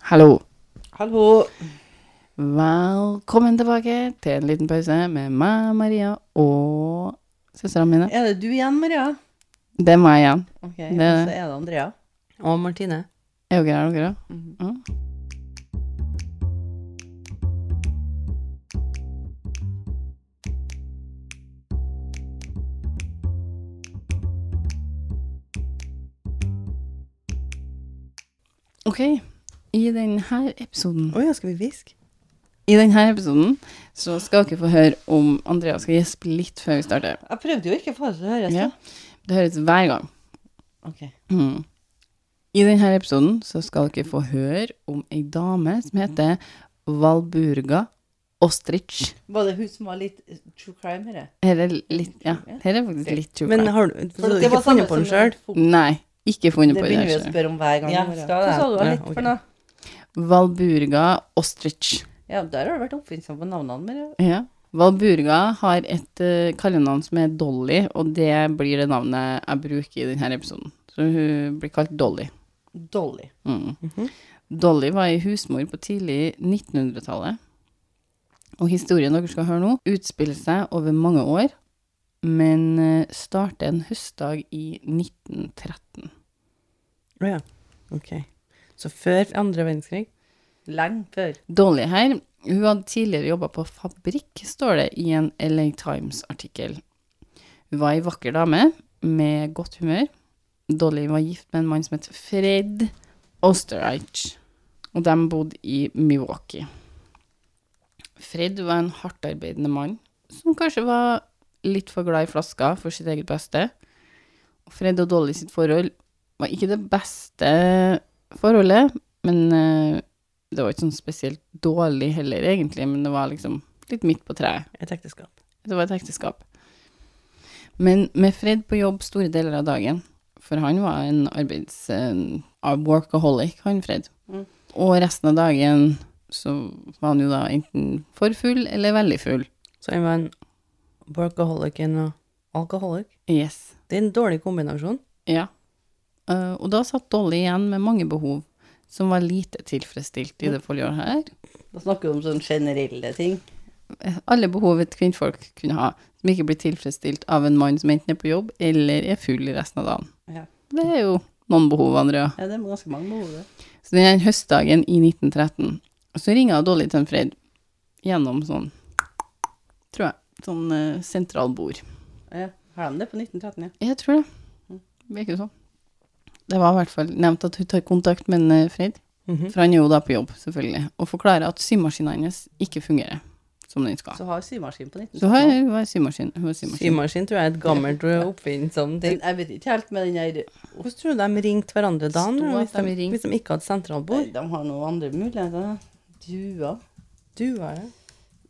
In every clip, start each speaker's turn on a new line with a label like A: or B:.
A: Hallo.
B: Hallo.
A: Velkommen tilbake til en liten pause med meg, Maria, og søstrene mine.
B: Er det du igjen, Maria?
A: Det er meg igjen.
B: Ok,
A: er
B: og
A: det.
B: så er det Andrea.
C: Og Martine.
A: Er dere her, dere?
B: Mhm.
A: Ja. Ok, i denne episoden
B: Å ja, skal vi hviske?
A: I denne episoden så skal dere få høre om Andrea skal gjespe litt før vi starter.
B: Jeg prøvde jo ikke å få det til å høres.
A: Ja.
B: da.
A: Det høres hver gang.
B: Ok.
A: Mm. I denne episoden så skal dere få høre om ei dame som heter Valburga Ostrich.
B: Var det hun som var litt eh, true crime her?
A: Her er litt, ja, her er faktisk litt true
C: Men
A: crime.
C: har du, så du ikke funnet på den sjøl?
A: Nei, ikke funnet
B: Det
A: på det.
B: begynner vi å
A: her,
B: spørre om hver gang.
C: Ja,
B: Maria.
C: skal det?
B: Hva sa du da?
C: Ja,
B: litt
C: ok.
B: for noe?
A: så. Valburga Ostrich.
B: Ja, der har du vært oppfinnsom på navnene, Maria.
A: Ja. Valburga har et eh, kallenavn som er Dolly, og det blir det navnet jeg bruker i denne episoden. Så hun blir kalt Dolly.
B: Dolly.
A: Mm.
C: Mhm.
A: Dolly var ei husmor på tidlig 1900-tallet. Og historien dere skal høre nå, utspiller seg over mange år, men eh, starter en høstdag i 1913.
C: Å ja. Ok. Så før andre verdenskrig?
B: Lenge før.
A: Dolly her, hun hadde tidligere jobba på fabrikk, står det i en LA Times-artikkel. Hun var ei vakker dame med godt humør. Dolly var gift med en mann som het Fred Osterreich, og de bodde i Milwaukee. Fred var en hardtarbeidende mann som kanskje var litt for glad i flasker for sitt eget beste. Og Fred og Dolly sitt forhold var ikke det beste forholdet, men eh, det var ikke sånn spesielt dårlig heller, egentlig, men det var liksom litt midt på treet.
C: Et ekteskap.
A: Det var et ekteskap. Men med Fred på jobb store deler av dagen, for han var en arbeids... En a workaholic, han Fred.
B: Mm.
A: Og resten av dagen så var han jo da enten for full eller veldig full.
C: Så han var en workaholic og en alkoholic.
A: Yes.
C: Det er en dårlig kombinasjon.
A: Ja. Eh, og da satt Dolly igjen med mange behov som var lite tilfredsstilt i det forrige året her.
B: Da snakker vi om sånne generelle ting.
A: alle behov et kvinnfolk kunne ha, som ikke blir tilfredsstilt av en mann som enten er på jobb eller er full i resten av dagen.
B: Ja,
A: Det er jo noen behov, Andrea.
B: ja det er ganske mange behov, det.
A: Så den her høstdagen i 1913, så ringer Dolly til en Fred gjennom sånn, tror jeg, sånn eh, sentralbord.
B: Ja. Har de det på 1913, ja?
A: Jeg tror det. Virker sånn. Det var i hvert fall nevnt at hun tar kontakt med en eh, Fred,
C: Mhm.
A: for han er jo da på jobb, selvfølgelig, og forklarer at symaskinen hennes ikke fungerer som den skal.
B: Så har symaskin på 1913.
A: Så her var symaskin. Hun var symaskin.
C: Symaskin tror jeg er et gammelt eh, oppfinnsom ting.
B: Jeg vet ikke helt med den der
C: Hvordan tror du de ringte hverandre da
A: Sto
C: når-
A: at
C: hvis,
A: de
C: de-
A: ringte.
C: hvis de ikke hadde
B: Nei,
C: sentralbord?
B: de har noen andre muligheter. Duer.
C: Du var det.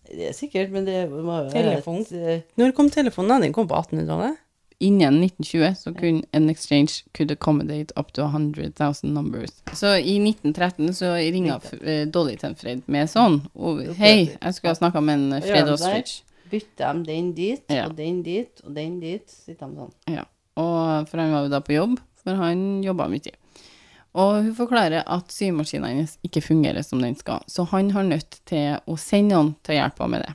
B: Det er sikkert, men det var jo
C: Telefon.
B: et, eh,
C: Når kom telefonen? da? Den kom på 1800-tallet?
A: innen 1920 så kunne en exchange could accommodate up to 100,000 numbers. Så i 1913 så ringa eh, Dolly til en Fred med sånn og, Hei, jeg skulle ha snakka med en eh,
B: Ja,
A: Fred
B: der.
A: Ostrich.
B: bytter de den dit,
A: Ja.
B: og den dit, og den dit, sitter de sånn.
A: Ja. Og, for han var jo da på jobb, for han jobba mye. Og hun forklarer at symaskinen hennes ikke fungerer som den skal, så han har nødt til å sende noen til å hjelpe henne med det.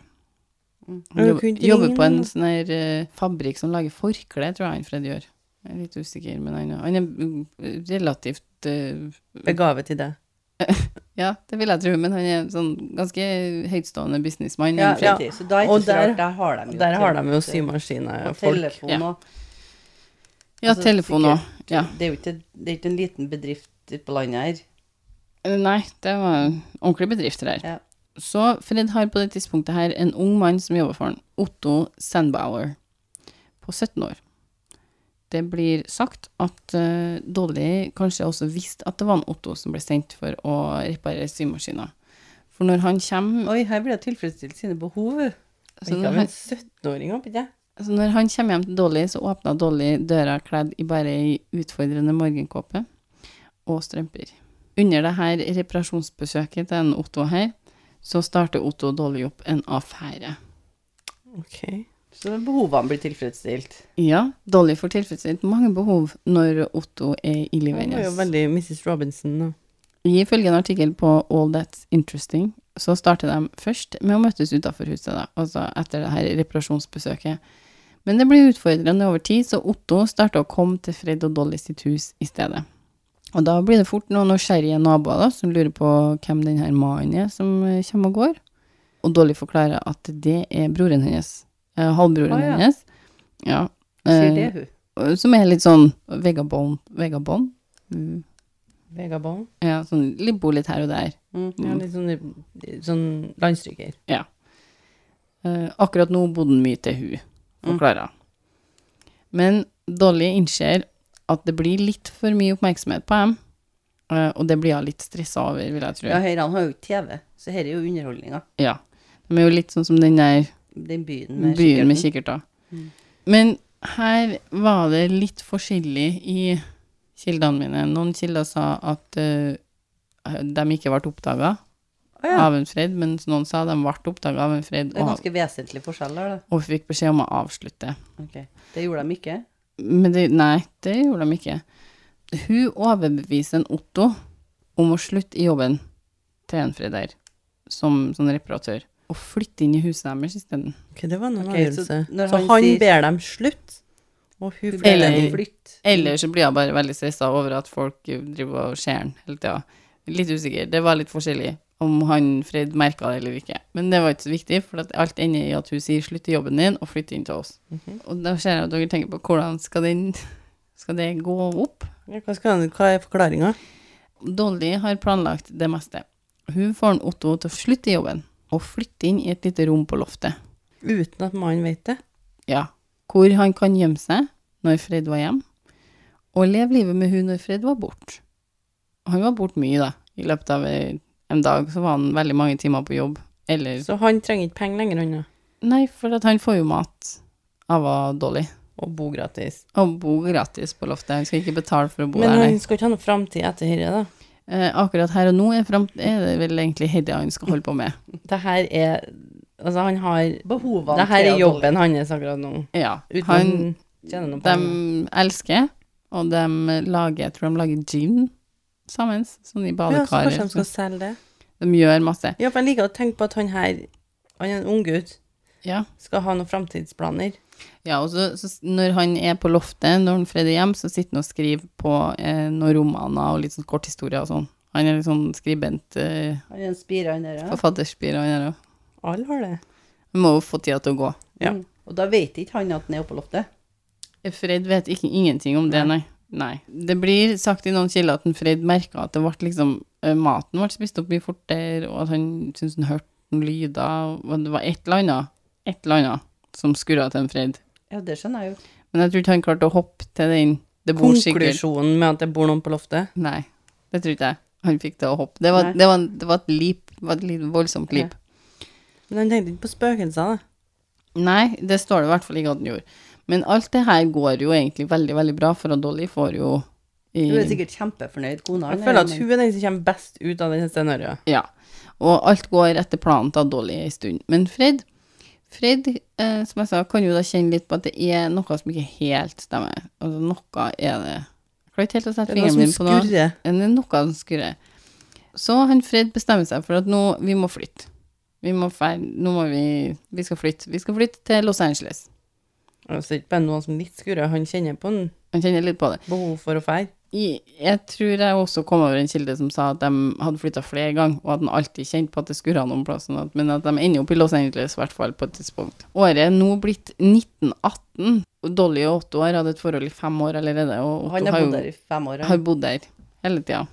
A: Han
C: Ja, du
A: jobb-
C: kunne ikke
A: jobber
C: ringe
A: på en
C: noen.
A: sånn her eh, fabrikk som lager forkle, tror jeg han Fred gjør. Jeg er litt usikker, men han, han er mm, relativt eh,
C: Begavet i det.
A: Ja, det vil jeg tro, men han er sånn ganske høytstående businessmann.
B: Ja,
A: han
B: ja.
A: Fred.
B: Så da er
C: Og
B: ikke så
C: der-
B: rart, der har de jo
C: Der har de
B: telefon-
C: jo symaskiner,
B: og
C: folk.
B: telefon
A: Ja.
B: og-
A: ja
B: altså,
A: telefon òg. Ja.
B: Det er jo ikke, det er ikke en liten bedrift ute på landet her.
A: Eh, Nei, det var en ordentlig bedrift det der.
B: Ja.
A: Så Fred har på det tidspunktet her en ung mann som jobber for han, Otto Sandbauer, på 17 år. Det blir sagt at eh, Dolly kanskje også visste at det var en Otto som ble sendt for å reparere symaskiner. For når han kommer,
B: Oi, her blir det tilfredsstilt sine behov.
A: så
C: Ikke
A: når
C: av en
A: han,
C: 17-åring, håper ikke jeg.
A: så Altså, når han kommer hjem til Dolly, så åpna Dolly døra kledd i bare ei utfordrende morgenkåpe og strømper. Under det her reparasjonsbesøket til en Otto her, så starter Otto og Dolly opp en affære.
C: Ok.
B: Så behovene blir tilfredsstilt.
A: Ja, Dolly får tilfredsstilt mange behov når Otto er i livet
C: Hun var jo
A: hennes.
C: veldig Mrs. Robinson. da.
A: Ifølge en artikkel på All That's Interesting, så starter de først med å møtes utafor huset, da, altså etter det her reparasjonsbesøket. Men det blir utfordrende over tid, så Otto starter å komme til Fred og Dolly sitt hus i stedet. Og da blir det fort noen nysgjerrige naboer da, som lurer på hvem den her mannen er som eh, kommer og går. Og Dolly forklarer at det er broren hennes. Eh, halvbroren
B: Å, ja.
A: hennes. Ja.
B: Sier
A: eh,
B: det hun.
A: Som er litt sånn vegabond. Vegabond? Mm.
C: Vegabond.
A: Ja, sånn litt bor litt her og der.
B: Mm.
C: Ja, litt sånn, sånn landstryker.
A: Eh, akkurat nå bodde han mye til hun,
B: Mm.
A: forklarer hun. Men Dolly innser at det blir litt for mye oppmerksomhet på dem, eh, og det blir hun litt stressa over, vil jeg tro.
B: Ja, her han har jo ikke TV, så her er jo underholdninga.
A: Ja. De er jo litt sånn som den der
B: Den byen med
A: byen med
B: kikkerten. Mm.
A: kikkerter. Men her var det litt forskjellig i kildene mine. Noen kilder sa at eh, de ikke ble oppdaga
B: Å ja.
A: av en fred, mens noen sa de ble oppdaga av en fred
B: Det er
A: og,
B: ganske vesentlig forskjell her, da.
A: og fikk beskjed om å avslutte.
B: Ok. Det gjorde de ikke.
A: Men det, nei, det gjorde de ikke. Hun overbeviser en Otto om å slutte i jobben til en freder som sånn reparatør, og flytte inn i huset deres isteden.
C: Ok, det var en
B: Ok,
C: avgjørelse.
B: så
C: Så,
B: når
C: han,
B: han sier-
C: ber dem slutt, og hun
B: Hun
C: forteller
B: ble
A: Eller-
C: dem-
B: flytt.
A: Eller så blir hun bare veldig stressa over at folk driver og ser den hele tida. Litt usikker. Det var litt forskjellig om han Fred merka det eller ikke. Men det var ikke så viktig, for at alt ender i at hun sier 'slutt i jobben din, og flytt inn til oss'. Og da ser jeg at dere tenker på hvordan skal, den, skal det gå opp?
C: Ja, hva, skal, han- hva er forklaringa?
A: Dolly har planlagt det meste. Hun får en Otto til å slutte i jobben og flytte inn i et lite rom på loftet.
C: Uten at mannen vet det.
A: Ja, hvor han kan gjemme seg når Fred var hjemme, og leve livet med hun når Fred var borte. Han var borte mye, da. I løpet av eh, en dag så var han veldig mange timer på jobb. Eller
C: Så han trenger ikke penger lenger, han da.
A: Nei, for at han får jo mat av eh, Dolly.
C: Og bo gratis.
A: Og bor gratis på loftet. Han skal ikke betale for å bo
C: Men
A: der, nei.
C: han skal ikke ha noe framtid etter dette, da.
A: Eh, akkurat her og nå er, frem, er det vel egentlig Hedda han skal holde på med.
C: Det her er Altså, han har
B: Behovene
C: Det her er
B: til å-
C: jobben hans akkurat nå.
A: Ja.
C: Uten
A: han,
C: å tjene noe penger.
A: De elsker, og de lager, jeg tror de lager gin sammen, sånn i
C: Ja, så
A: badekaret.
C: kanskje de skal selge det.
A: de gjør masse.
C: Ja, for jeg liker å tenke på at han her, han er en unggutt,
A: Ja.
C: skal ha noen framtidsplaner.
A: ja og så, så s- når han er på loftet, når han freder hjem, så sitter han og skriver på eh, noen romaner og litt sånn korthistorier og sånn. Han er litt sånn skribent, eh,
B: Han er en spire, han der. ja.
A: forfatterspyr, han er også.
C: Alle har det.
A: Han må jo få tida til å gå.
C: Ja.
B: Mm. Og da vet ikke han at han er oppe på loftet.
A: Fred vet ikke, ingenting om det, nei. Nei. Det blir sagt i noen kilder at en Fred merka at det ble liksom eh, Maten ble spist opp mye fortere, og at han syntes han hørte noen lyder, og det var et eller annet, et eller annet som skurra til en Fred.
B: Ja, det skjønner jeg jo.
A: Men jeg tror ikke han klarte å hoppe til den. Det bor sikkert
C: Konklusjonen med at det bor noen på loftet.
A: Nei, det tror ikke jeg. Han fikk til å hoppe. Det var,
B: Nei.
A: det var, det var et leap. Det var et litt voldsomt leap.
C: Men han tenkte ikke på spøkelser, da.
A: Nei, det står det i hvert fall ikke at han gjorde. Men alt det her går jo egentlig veldig, veldig bra, for at Dolly får jo i,
B: Hun er sikkert kjempefornøyd, kona.
C: Mm. Jeg
B: eller?
C: føler at hun er den som kommer best ut av dette scenarioet.
A: Ja. Og alt går etter planen til Dolly en stund. Men Fred, Fred eh, som jeg sa, kan jo da kjenne litt på at det er noe som ikke helt stemmer. Altså, noe er det Jeg klarer ikke helt å
C: Det
A: sette
C: er noe
A: fingeren
C: som
A: min på noe.
C: skurrer.
A: Men Det er noe som skurrer. Så han Fred bestemmer seg for at nå vi må flytte. Vi må fer, nå må vi Vi skal flytte. Vi skal flytte til Los Angeles.
C: Altså, det er ikke bare noen som litt skurrer. Han kjenner på en
A: Han kjenner litt på det.
C: behov for å fære.
A: I- Jeg tror jeg også kom over en kilde som sa at de hadde flytta flere ganger, og at han alltid kjente på at det skurra noen plass, sånn at- men at de ender opp i Los Angeles, i hvert fall på et tidspunkt. Året er nå blitt 1918, og Dolly og Otto har hatt et forhold i fem år allerede, og
B: Han
A: Otto
B: har
A: har,
B: bodd der
A: jo,
B: i fem år.
A: har
B: Han.
A: bodd der hele tida.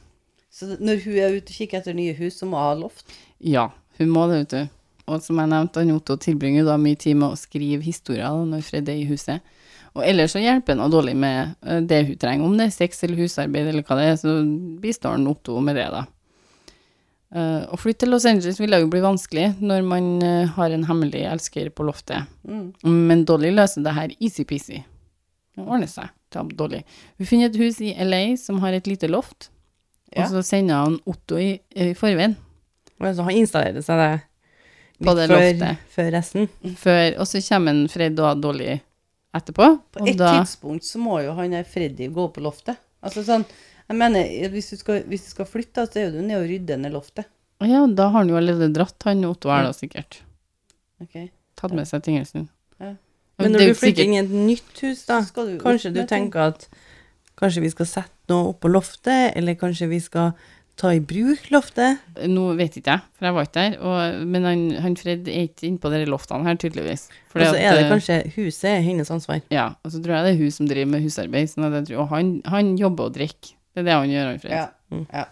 B: Så når hun er ute og kikker etter nye hus, så må hun ha loft.
A: Ja, hun må det, vet du. Og som jeg nevnte, han Otto tilbringer jo da mye tid med å skrive historier da, når Fred er i huset. Og ellers så hjelper han Dolly med eh, det hun trenger, om det er sex eller husarbeid eller hva det er, så bistår han Otto med det, da. Eh, Å flytte til Los Angeles ville jo bli vanskelig når man eh, har en hemmelig elsker på loftet.
B: Mm.
A: Men Dolly løser det her easy-peasy. Det ordner seg til Dolly. Hun finner et hus i LA som har et lite loft,
B: Ja.
A: og så sender han Otto i, eh, i forveien
C: Og altså, han installerer seg det
A: På
C: litt
A: det loftet.
C: før resten.
A: før, og så kommer en Fred og Dolly etterpå.
B: På
A: Og
B: et
A: da,
B: tidspunkt så må jo han der Freddy gå på loftet. Altså sånn, Jeg mener, hvis du skal, hvis du skal flytte, da, så er jo du ned og rydde ned loftet.
A: Å ja, da har han jo allerede dratt, han Otto er da sikkert.
B: Ok?
A: Tatt med seg tingelsen.
B: Ja.
A: Men
C: Men
A: det er jo
C: når du
A: sikkert-
C: flytter inn i et nytt hus, da,
B: Så skal du
C: kanskje
B: opp
C: du
B: med ting.
C: tenker at kanskje vi skal sette noe opp på loftet, eller kanskje vi skal ta i bruk loftet.
A: Nå vet ikke jeg, for jeg var ikke der. Og, men han, han Fred er ikke inne på de loftene her, tydeligvis.
C: Og så Altså, er
A: at,
C: det
A: eh,
C: kanskje huset er hennes ansvar.
A: Ja, og så tror jeg det er hun som driver med husarbeid. Sånn at jeg tror, og han, han jobber og drikker. Det er det han gjør, han Fred.
B: Ja.
C: Mm.
B: ja.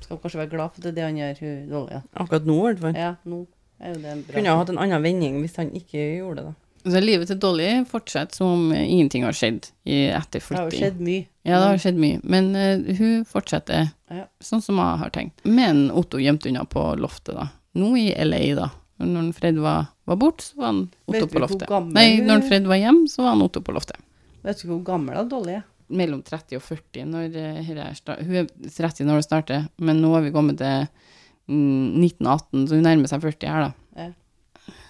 B: Skal kanskje være glad for at det er det han gjør. Hun, da, ja.
C: Akkurat nå, i hvert fall.
B: ja, nå er jo det en bra
C: Kunne ha hatt en annen vending hvis han ikke gjorde det, da.
A: Så livet til Dolly fortsetter som om ingenting har skjedd i etter
B: Det har jo
A: flytting.
B: skjedd mye.
A: Ja, det har skjedd mye. Men eh, hun fortsetter
B: Ja.
A: sånn som jeg har tenkt. Men Otto gjemte unna på loftet, da. Nå i LA, da. Når han Fred var, var borte, så var han
B: Vet
A: Otto
B: du
A: på
B: hvor
A: loftet.
B: gammel
A: Nei,
B: hun-
A: når han Fred var hjemme, så var han Otto på loftet.
B: Vet du hvor gammel da Dolly er?
A: Mellom 30 og 40 når eh, her er sta- Hun er 30 når det starter, men nå har vi kommet til mm, 1918, så hun nærmer seg 40 her, da.
B: Ja.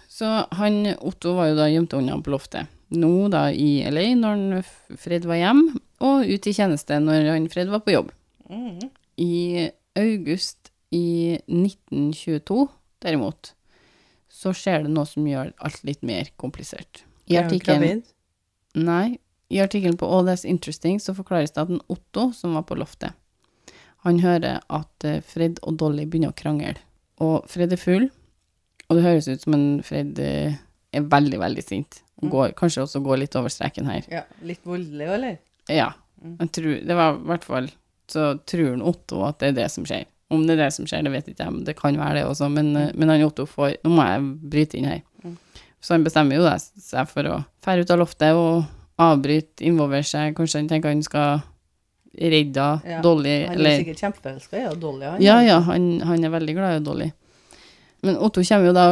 A: Så han Otto var jo da gjemt unna på loftet. Nå da i LA, når han F- Fred var hjemme, og ut i tjeneste når han Fred var på jobb.
C: Mm.
B: Mhm.
A: I august i 1922, derimot, så skjer det noe som gjør alt litt mer komplisert. I
C: Er hun
A: artikkelen
C: gravid?
A: Nei, i artikkelen på All That's Interesting så forklares det at en Otto, som var på loftet, han hører at eh, Fred og Dolly begynner å krangle. Og Fred er full, og det høres ut som en Fred eh, er veldig, veldig sint. Og går, kanskje også går litt over streken her.
B: Ja, litt voldelig, eller?
A: Ja.
B: Mm.
A: Jeg tror, det var i hvert fall Så tror han Otto at det er det som skjer. Om det er det som skjer, det vet ikke jeg, men det kan være det også. Men,
B: Mm.
A: eh, men han Otto får Nå må jeg bryte inn her. Så han bestemmer jo det seg for å fære ut av loftet og avbryte, involvere seg. Kanskje han tenker han skal redde
B: Ja,
A: Dolly,
B: Han er
A: eller
B: sikkert kjempeelska i ja, Dolly, han.
A: ja, ja, han, han er veldig glad i Dolly. Men Otto kommer jo da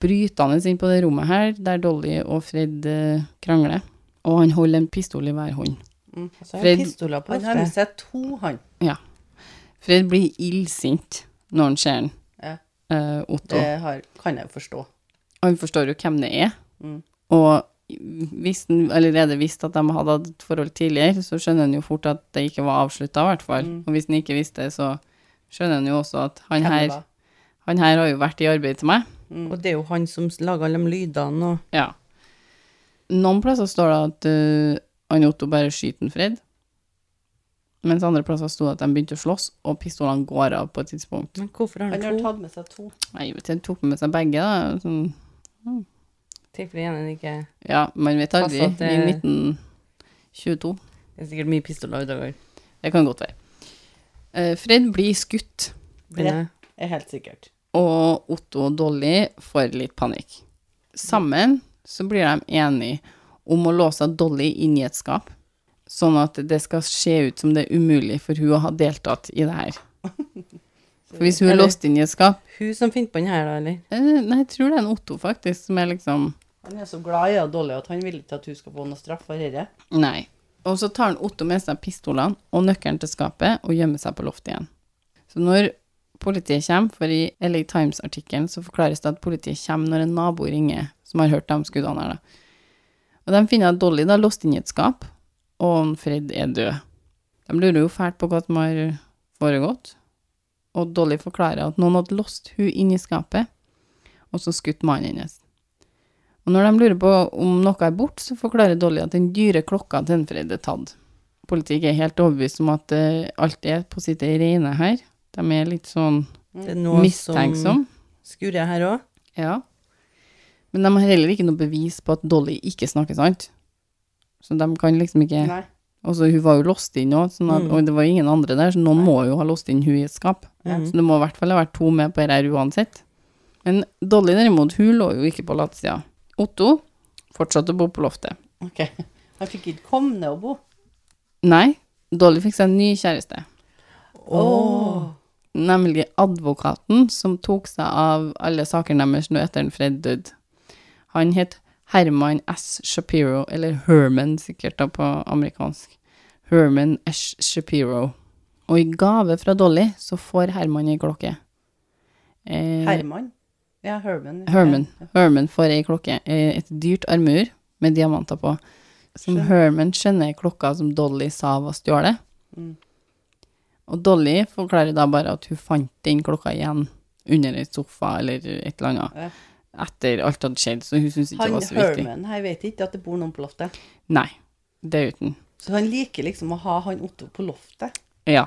A: brytende inn på det rommet her, der Dolly og Fred eh, krangler. Og han holder en pistol i hver hånd.
B: Mm.
C: Så har hun
A: Fred-
C: pistoler på
B: Han har med
C: loftet.
B: seg to, han.
A: Ja. Fred blir illsint når han ser han,
B: Ja,
A: eh, Otto.
B: det har, kan jeg jo forstå.
A: Han forstår jo hvem det er.
B: Mm.
A: Og hvis han allerede visste at de hadde hatt et forhold tidligere, så skjønner han jo fort at det ikke var avslutta, i hvert fall. Og hvis han ikke visste det, så skjønner han jo også at han
B: Mm. Hvem det
A: her,
B: var.
A: han her har jo vært i arbeid til meg.
C: Og det er jo han som lager alle de lydene og
A: Ja. Noen plasser står det at eh, han Otto bare skyter en Fred, mens andre plasser sto det at de begynte å slåss, og pistolene går av på et tidspunkt.
C: Men hvorfor har
B: Han har
C: han to?
B: tatt med seg to.
A: Nei, vet ikke, de tok med seg begge, da. Sånn,
C: Tilfelle igjen ikke
A: ja, man vet aldri.
C: Altså at det-
A: I 1922.
C: Det er sikkert mye pistoler i dag.
A: Det kan godt være. Eh, Fred blir skutt,
B: Det
C: eh,
B: er helt sikkert.
A: og Otto og Dolly får litt panikk. Sammen så blir de enige om å låse Dolly inn i et skap, sånn at det skal se ut som det er umulig for hun å ha deltatt i det her. For hvis hun er
C: Eller-
A: låst inn i et skap
C: Hun som finner på den her, da, eller?
A: eh, Nei, jeg tror det er en Otto, faktisk, som er liksom
B: Han er så glad i ja, Dolly at han vil ikke at hun skal få noe straff for dette.
A: Nei. Og så tar han Otto med seg pistolene og nøkkelen til skapet og gjemmer seg på loftet igjen. Så når politiet kommer, for i LA Times-artikkelen så forklares det at politiet kommer når en nabo ringer som har hørt de skuddene her, da. Og de finner at Dolly da er låst inn i et skap, og Fred er død. De lurer jo fælt på hva som har foregått, og Dolly forklarer at noen hadde låst hun inn i skapet, og så skutt mannen hennes. Og når de lurer på om noe er bort, så forklarer Dolly at den dyre klokka til en Fred er tatt. Politiet er helt overbevist om at eh, alt er på sitt rene her. De er litt sånn
C: Det er noe som
A: mistenksomme.
C: skurrer her òg.
A: Ja. Men de har heller ikke noe bevis på at Dolly ikke snakker sant. Så de kan liksom ikke
B: Nei.
A: Og så hun var jo låst inn òg, sånn at- og det var ingen andre der, så noen må jo ha låst inn hun i et skap. Så det må i hvert fall ha vært to med på dette her uansett. Men Dolly derimot, hun lå jo ikke på latsida. Otto fortsatte å bo på loftet.
B: Ok. Han fikk ikke komme ned og bo.
A: Nei, Dolly fikk seg en ny kjæreste,
B: Åh.
A: nemlig advokaten som tok seg av alle sakene deres nå etter en Fred døde. Han het Herman S. Shapiro, eller Herman sikkert da på amerikansk. Herman S. Shapiro. Og i gave fra Dolly så får Herman ei klokke. Eh,
B: Herman. Ja, Herman.
A: Herman. Herman får ei klokke, eh, et dyrt armur med diamanter på, som Herman skjønner er klokka som Dolly sa var stjålet.
B: Mm.
A: Og Dolly forklarer da bare at hun fant den klokka igjen under en sofa eller et eller annet.
B: Ja.
A: Etter alt hadde skjedd, så hun syntes ikke det
B: Han
A: var så viktig.
B: Herman her vet ikke at det bor noen på loftet.
A: Nei, det er uten.
B: Så han liker liksom å ha han Otto på loftet.
A: Ja.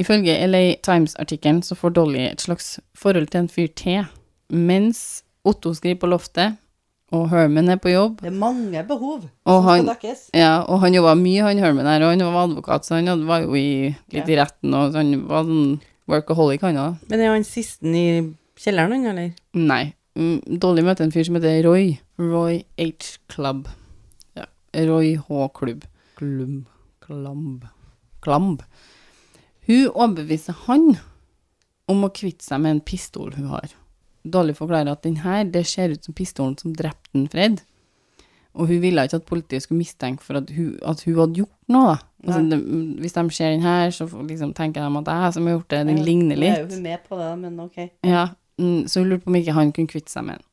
A: Ifølge LA Times-artikkelen så får Dolly et slags forhold til en fyr til, mens Otto skriver på loftet, og Herman er på jobb.
B: Det er mange behov
A: Og
B: som
A: han-
B: skal dekkes.
A: Ja, og han jobba mye, han Herman her, og han var advokat, så han hadde- var jo i, litt i retten, og så han var sånn workaholic, han òg.
C: Men er han sisten i kjelleren, han, eller?
A: Nei. Mm, Dolly møtte en fyr som heter Roy. Roy H. Club. Ja. Roy H. Klubb. Klum. Klamb. Klamb. Hun overbeviser han om å kvitte seg med en pistol hun har. Dolly forklarer at den her, det ser ut som pistolen som drepte den Fred. Og hun ville ikke at politiet skulle mistenke for at hun, at hun hadde gjort noe. da. Altså,
B: Nei.
A: det, hvis de ser den her, så får- liksom, tenker de at det er jeg som har gjort det. Den
B: Ja,
A: ligner
B: nå
A: litt.
B: Er jo hun med på det, men ok.
A: Ja, mm, så hun lurte på om ikke han kunne kvitte seg med den.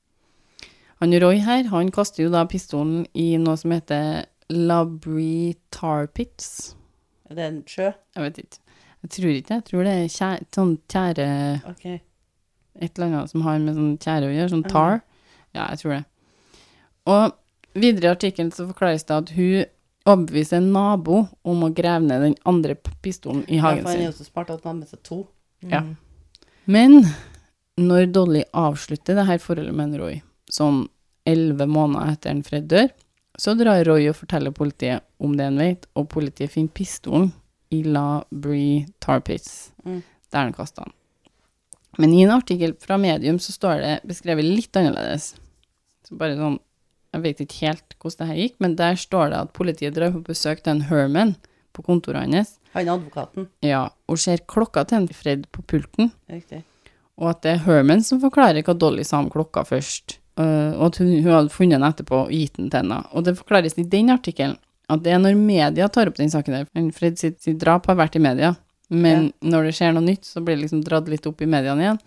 A: Han Roy her, han kaster jo da pistolen i noe som heter Labrie Tar Pits.
B: Er det en sjø?
A: Jeg vet ikke. Jeg tror ikke det. Jeg tror det er tjære, sånn tjære
B: Ok.
A: Et eller annet som har med sånn tjære å gjøre. Sånn tar. Ja, jeg tror det. Og videre i artikkelen så forklares det at hun overbeviser en nabo om å grave ned den andre p- pistolen i
B: Ja,
A: hagen
B: for han er
A: sin.
B: jo så smart at han har med seg to.
A: Ja.
C: Mm.
A: Men når Dolly avslutter det her forholdet med en Roy, sånn elleve måneder etter en Fred dør, så drar Roy og forteller politiet om det han vet, og politiet finner pistolen i La Bree Tar Pits,
B: Mm.
A: der han kasta den. Men i en artikkel fra Medium så står det beskrevet litt annerledes. Så bare sånn Jeg vet ikke helt hvordan det her gikk, men der står det at politiet drar på besøk til en Herman på kontoret hans,
B: Han er advokaten.
A: ja, og ser klokka til en Fred på pulten.
B: Riktig.
A: Og at det er Herman som forklarer hva Dolly sa om klokka først. eh, og at hun, hun hadde funnet den etterpå og gitt den til henne. Og det forklares i den artikkelen at det er når media tar opp den saken der. Men Fred sitt, sitt drap har vært i media, men når det skjer noe nytt, så blir det liksom dratt litt opp i mediene igjen.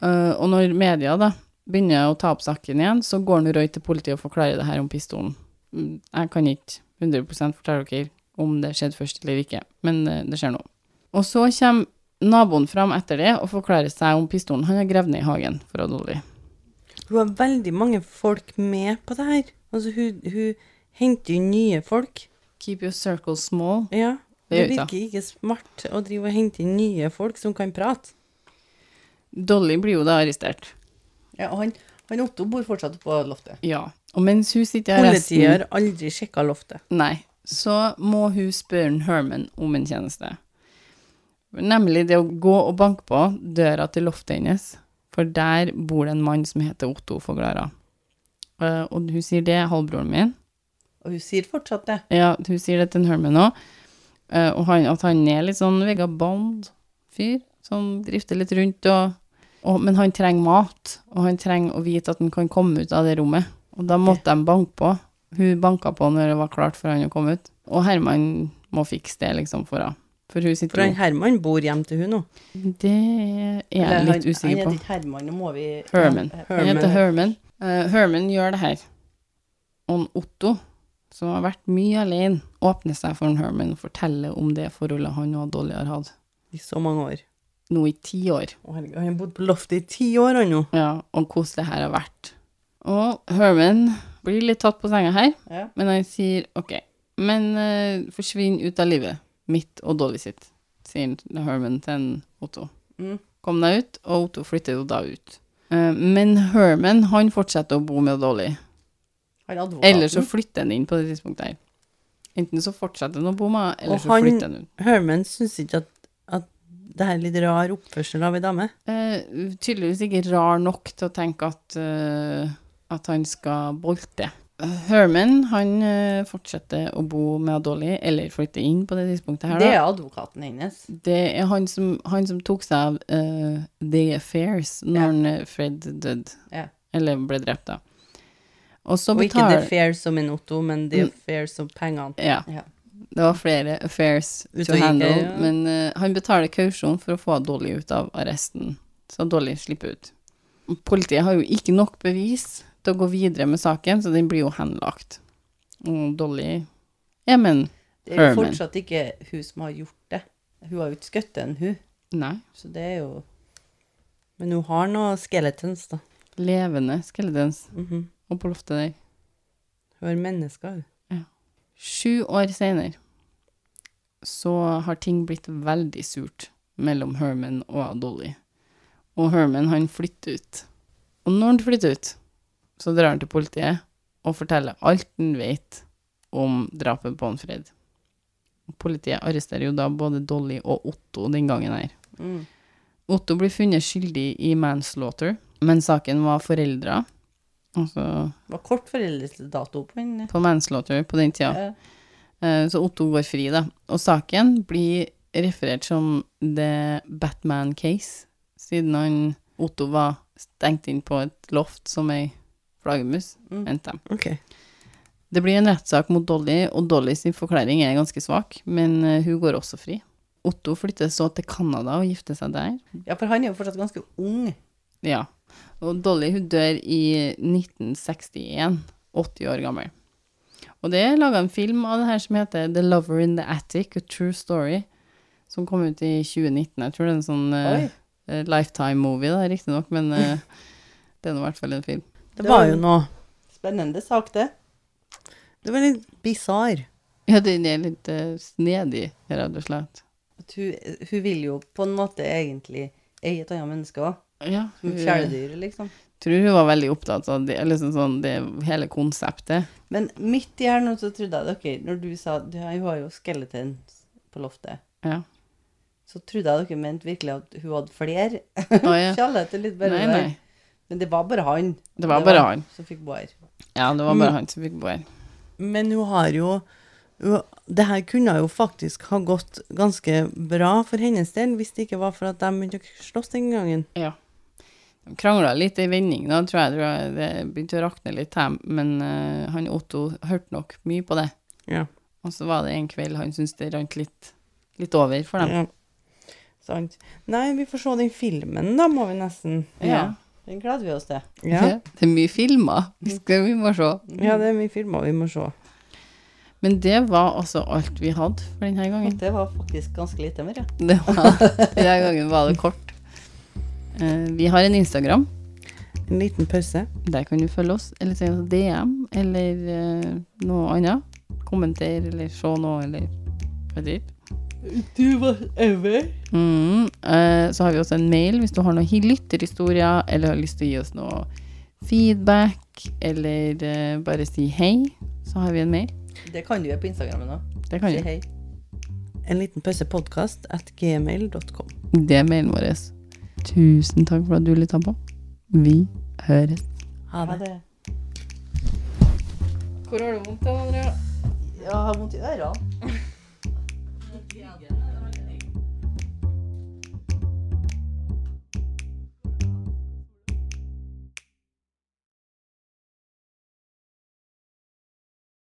A: Eh, og når media da begynner å ta opp saken igjen, så går nå Roy til politiet og forklarer det her om pistolen. Mm, Jeg kan ikke 100 fortelle dere om det skjedde først eller ikke, men eh, det skjer nå. Og så kommer naboen fram etter det og forklarer seg om pistolen han har gravd ned i hagen fra Dolly.
C: Hun har veldig mange folk med på det her. Altså, hun, hun henter jo nye folk.
A: Keep your circle small.
C: Ja. Det
A: Det gjør hun
C: virker ikke smart å drive og hente inn nye folk som kan prate.
A: Dolly blir jo da arrestert.
B: Ja, og han, han Otto bor fortsatt på loftet.
A: Ja. Og mens hun sitter i
C: Politiet
A: arresten
C: har aldri sjekka loftet.
A: Nei, så må hun spørre en Herman om en tjeneste. Nemlig det å gå og banke på døra til loftet hennes, for der bor det en mann som heter Otto Foglara. Eh, Og hun sier det er halvbroren min.
B: Og hun sier fortsatt det.
A: Ja, hun sier det til en Herman òg. Og han, at han er litt sånn vegabond-fyr, som drifter litt rundt og, og Men han trenger mat, og han trenger å vite at han kan komme ut av det rommet. Og da måtte de banke på. Hun banka på når det var klart for han å komme ut. Og Herman må fikse det, liksom, for henne. For hun
C: For
A: sitter
C: han
A: jo
C: Herman bor hjem til hun nå.
A: Det er jeg
B: Eller
A: litt
B: han-
A: usikker
B: Han
A: på.
B: heter ikke Herman, nå må vi
A: Herman.
B: Ja,
A: Han heter Herman. Eh, Herman gjør det her. Og Otto, som har vært mye alene, åpner seg for en Herman og forteller om det forholdet han og Dolly har hatt
C: I så mange år.
A: nå i ti år,
C: Å, herregud, han har bodd på loftet i ti år, han nå.
A: ja, og hvordan det her har vært. Og Herman blir litt tatt på senga her,
B: Ja.
A: men han sier OK, men eh, forsvinn ut av livet mitt og Dolly sitt, sier Herman til en Otto.
B: Mm.
A: kom deg ut, og Otto flytter jo da ut. Eh, Men Herman, han fortsetter å bo med Dolly.
B: Han er advokaten.
A: Eller så flytter han inn på det tidspunktet her. Enten så fortsetter han å bo med, eller
C: Og
A: så
C: han-
A: flytter han ut.
C: Herman syns ikke at, at det her er litt rar oppførsel av ei dame.
A: Eh, tydeligvis ikke rar nok til å tenke at, eh, at han skal bolte. Eh, Herman, han eh, fortsetter å bo med Dolly, eller flytter inn på det tidspunktet her,
B: Det
A: da.
B: er advokaten hennes.
A: Det er han som, han som tok seg av eh, The Affairs når
B: Ja.
A: han, eh, Fred døde.
B: Ja.
A: Eller ble drept, da. Og så
C: Og ikke
A: betaler
C: det fair som en Otto, men det er fair som pengene.
A: Ja.
B: Ja.
A: Det var flere affairs
C: Ut
A: to
C: og gikk,
A: handle,
C: ja.
A: men eh, han betaler kausjon for å få Dolly ut av arresten, så Dolly slipper ut. Politiet har jo ikke nok bevis til å gå videre med saken, så den blir jo henlagt. Og Dolly er med en
B: Det er jo
A: Herman.
B: fortsatt ikke hun som har gjort det. Hun har jo ikke skutt en, hun.
A: Nei.
B: Så det er jo
C: Men hun har noen skeletons, da.
A: Levende skeletons
C: Mhm.
A: og på loftet der.
C: Hun har mennesker. hun.
A: Sju år senere så har ting blitt veldig surt mellom Herman og Dolly. Og Herman, han flytter ut. Og når han flytter ut, så drar han til politiet og forteller alt han vet om drapet på han Fred. Politiet arresterer jo da både Dolly og Otto den gangen her.
B: mm.
A: Otto blir funnet skyldig i manslaughter, men saken var foreldra. Altså
B: Var kort foreldelsesdato på den.
A: på manslaughter på den tida.
B: Ja.
A: Eh, Så Otto går fri, da. Og saken blir referert som The Batman Case, siden han Otto var stengt inn på et loft som ei flaggermus,
B: Mm.
A: mente de.
C: Ok.
A: Det blir en rettssak mot Dolly, og Dolly sin forklaring er ganske svak, men eh, hun går også fri. Otto flytter så til Canada og gifter seg der.
B: ja, for han er jo fortsatt ganske ung.
A: Ja. Og Dolly hun dør i 1961, 80 år gammel. Og det er laga en film av det her som heter The Lover in the Attic, A True Story, som kom ut i 2019. Jeg tror det er en sånn
B: Oi.
A: lifetime-movie, da, riktignok, men eh, det er nå i hvert fall en film.
C: Det var jo noe
B: Spennende sak, det.
C: Det var litt bisarr.
A: Ja, den er litt eh, snedig, rett og slett.
B: At hun, hun vil jo på en måte egentlig eie et annet menneske òg.
A: Ja,
B: Som
A: hun-
B: kjæledyr, liksom.
A: tror hun var veldig opptatt av det, liksom sånn, det hele konseptet.
B: Men midt i her nå så trodde jeg dere, når du sa du har- hun har jo skeleton på loftet,
A: Ja.
B: så trodde jeg dere mente virkelig at hun hadde flere.
A: Å, ja.
B: Kjærlighet er litt bare
A: Nei,
B: der.
A: nei.
B: Men det var bare han.
A: Det var bare han.
B: Som fikk boer.
A: Ja, det var bare han som fikk bo her.
C: Men hun har jo hun- Det her kunne jo faktisk ha gått ganske bra for hennes del, hvis det ikke var for at de begynte å slåss den gangen.
A: Ja. De krangla litt i vending, da tror jeg, tror jeg det begynte å rakne litt her, men eh, han Otto hørte nok mye på det.
C: Ja.
A: Og så var det en kveld han syntes det rant litt, litt over for dem.
C: Ja. Sant. Nei, vi får se den filmen, da, må vi nesten.
B: Ja. Den gleder vi oss til. Mm.
C: Ja,
A: Det er mye filmer, vi skal vi må se.
C: ja det er mye filmer vi må se.
A: Men det var altså alt vi hadde for denne gangen.
B: Det var faktisk ganske lite mer, ja.
A: Det var, denne gangen var det kort. Eh, vi har en Instagram.
C: En liten pause.
A: Der kan du følge oss, eller sende oss DM, eller eh, noe annet. Kommenter, eller se noe, eller vet ikke.
B: Du var over.
A: Mm, eh, så har vi også en mail hvis du har noen hi- lytterhistorier, eller har lyst til å gi oss noe feedback, eller eh, bare si hei, så har vi en mail.
B: Det kan du gjøre på Instagrammen òg.
A: Det kan
B: Si
A: du.
B: hei.
C: En liten pause podcast at gmail.com.
A: Det er mailen vår. Tusen takk for at du lytta på. Vi høres.
C: Ha det.
B: det.
A: Hvor har du vondt, Andrea?
B: Ja, Jeg har vondt i ørene.